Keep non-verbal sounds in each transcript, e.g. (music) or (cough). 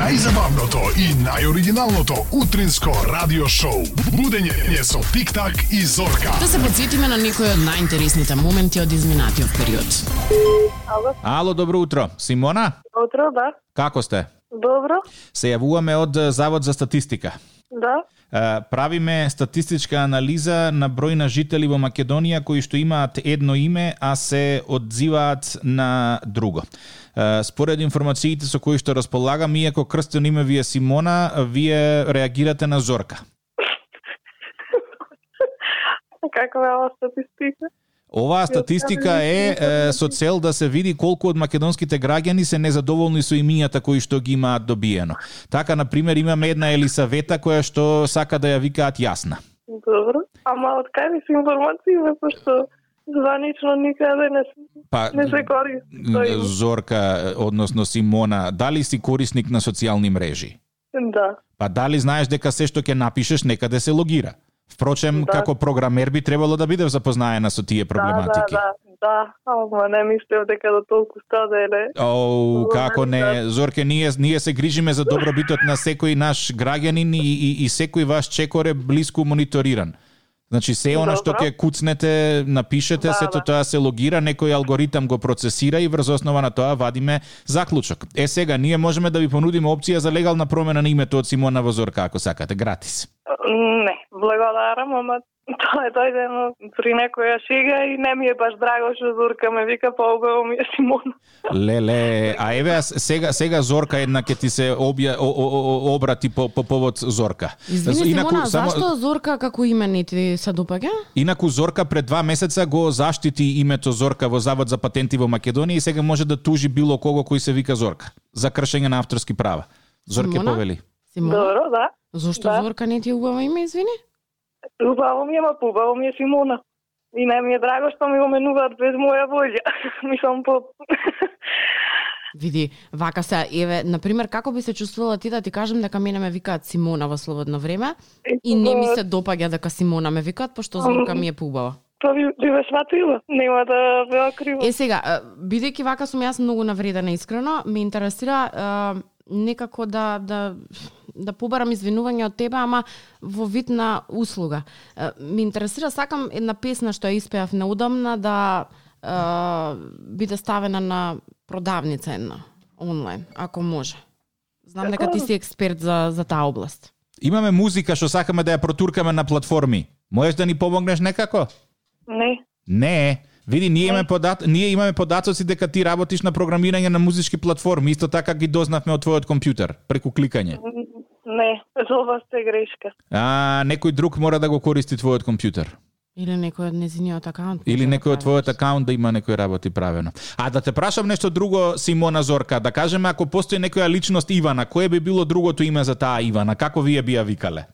Најзабавното и најоригиналното утринско радио шоу. Будење со Тик-так и Зорка. Да се подсетиме на некои од најинтересните моменти од изминатиот период. Ало, Ало, добро утро. Симона, утро, да. како сте? Добро, Се јавуваме од е, Завод за статистика. да. (laughs) Е, Правиме статистичка анализа на број на жители во Македонија кои што имаат едно име, а се одзиваат на друго. Е, Според информациите со кои што располагам, иако крстено име ви е Симона, вие реагирате на Зорка. Каква е ова статистика? Оваа статистика е, е со цел да се види колку од македонските граѓани се незадоволни со имињата кои што ги имаат добиено. Така на пример имаме една Елисавета која што сака да ја викаат Јасна. Добро. Ама од кај се информација, пошто званично никаде не, се- Па не се користи. тој. Зорка, односно Симона, дали си корисник на социјални мрежи? Да. Па дали знаеш дека се што ќе напишеш некаде се логира? Впрочем, Да. како програмер би требало да бидев запознаена со Да, тие да, проблематики. да, да, ама не мислев дека до толку да стаде, еле. Оу, Добро, како не, да. Зорке, ние, ние се грижиме за добробитот на секој наш граѓанин и, и, и секој ваш чекор е блиску мониториран. Значи, се она што Добро. ќе куцнете, напишете, Да, сето да. тоа се логира, некој алгоритам го процесира и врз основа на тоа вадиме заклучок. Е, сега, ние можеме да ви понудиме опција за легална промена на името од Симона во Зорка, ако сакате, гратис. Не, благодарам, ама тоа е дојде но при некоја шега и не ми е баш драго што Зурка ме вика, поубаво ми е Симона. Леле, а еве, а сега, сега Зорка една ќе ти се обја, о, о, о, обрати по, по повод Зорка. Извини, Инаку, Симона, само- зашто Зорка како име не ти се допаѓа? Инаку Зорка пред два месеца го заштити името Зорка во Завод за патенти во Македонија и сега може да тужи било кого кој се вика Зорка за кршење на авторски права. Зорке Симона? повели. Симона, Добро, да. зошто да. Зорка не ти е убаво име, извини? Убаво ми е, ма поубаво ми е Симона. И не ми е драго што ми го менуваат без моја волја. (laughs) Мислам по... (laughs) Види, вака се, еве, на пример, како би се чувствувала ти да ти кажам дека мене ме викаат Симона во слободно време и не ми се допаѓа дека Симона ме викаат, пошто Зорка ми е поубава. Тоа би, би ме сватила. Нема да ве окрива. Е сега, е, бидејќи вака сум јас многу навредена искрено, ме интересира е, некако да да да побарам извинување од тебе, ама во вид на услуга. Е, Ме интересира сакам една песна што ја испеав неудамна да е, биде ставена на продавница една онлайн, ако може. Знам дека ти си експерт за за таа област. Имаме музика што сакаме да ја протуркаме на платформи. Можеш да ни помогнеш некако? Не. Не. Види, ние имаме подат, ние имаме податоци дека ти работиш на програмирање на музички платформи, исто така ги дознавме од твојот компјутер преку кликање. Не. За ова сте грешка. А некој друг мора да го користи твојот компјутер. Или некој од незиниот акаунт. може Или да некој од прави. твојот акаунт да има некој работи правено. А да те прашам нешто друго, Симона Зорка, да кажеме ако постои некоја личност Ивана, кое би било другото име за таа Ивана? Како вие би ја викале?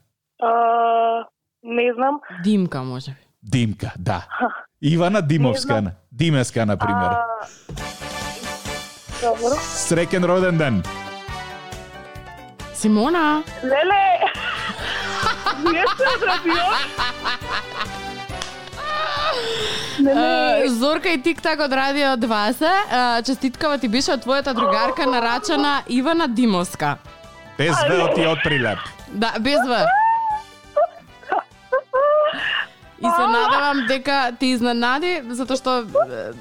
А, не знам. Димка може. би. Димка, да. Ивана Димовска, на- Димеска, на пример. А, Добро. Среќен роден ден. Симона, Леле! (laughs) Не се радио. Е, Зорка и Тик так од Радио 20. е, Честиткава ти беше од твојата другарка нарачена Ивана Димовска. Без вел ти од прилеп. Да, без В. И се надевам дека ти изненади, затоа што е,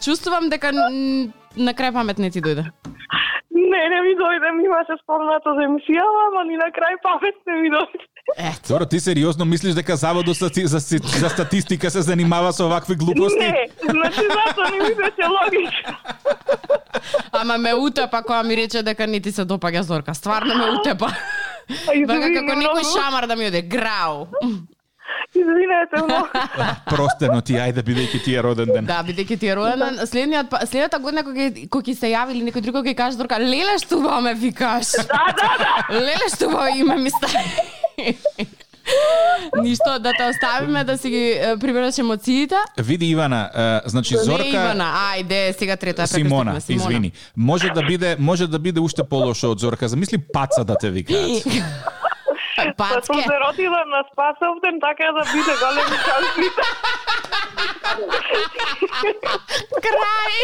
чувствувам дека н- на крај памет не ти дојде. Не, не ми дојде, ми имаше спомнато за емисијава, ама ни на крај памет не ми дојде. Ето. Зоро, ти сериозно мислиш дека Заводот за, стати- за, стати- за статистика се занимава со вакви глупости? Не, значи затоа не ми беше логично. Ама ме утепа која ми рече дека не ти се допаѓа Зорка. Стварно ме утепа. Вака Извини како некој многу. шамар да ми оде. Грау. Извинете (laughs) многу. Простено ти, ајде, бидејќи ти е роден ден. Да, бидејќи ти е роден ден, следниот па- следната година кога ќе кога ќе се јави или некој друг кога ќе каже друга, леле што убаво ме викаш. Да, да, да. Леле што убаво име ми стави. Ништо, да те оставиме да си ги е, прибереш емоциите. Види Ивана, е, значи Зорка Не, Ивана, ајде, сега трета ја Симона, прекрстивме, извини. Може да биде, може да биде уште полошо од Зорка. Замисли паца да те викаат. Па сум Пацке. (laughs) се родила на Спасовден, така да биде големи шансите. (laughs) Крај!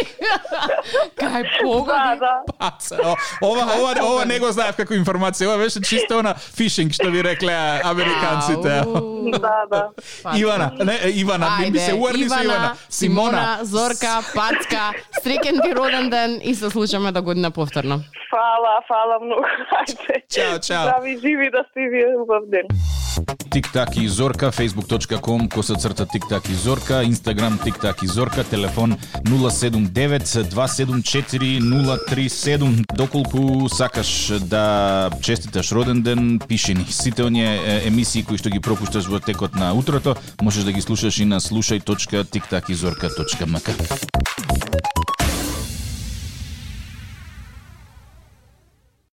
Кај Да, погоди! да. Паца. О, ова, ова, ова не го знаев како информација. Ова беше чисто она фишинг што ви реклеа американците. Ау. Да, да. Паца. Ивана, не, е, Ивана, ми би се уарни со Ивана. Симона. Зорка, Пацка, среќен ти роден ден и се слушаме до година повторно. Фала, фала многу. Ајде. Чао, чао. Да ви живи да сте и вие убав ден. Тик-так и Зорка, facebook.com, коса црта Тик-так и Зорка, Instagram Тик-так и Зорка, телефон 079-274-037. Доколку сакаш да честиташ роден ден, пиши ни. Сите оние е, емисии кои што ги пропушташ во текот на утрото, можеш да ги слушаш и на слушај.тиктакизорка.мк.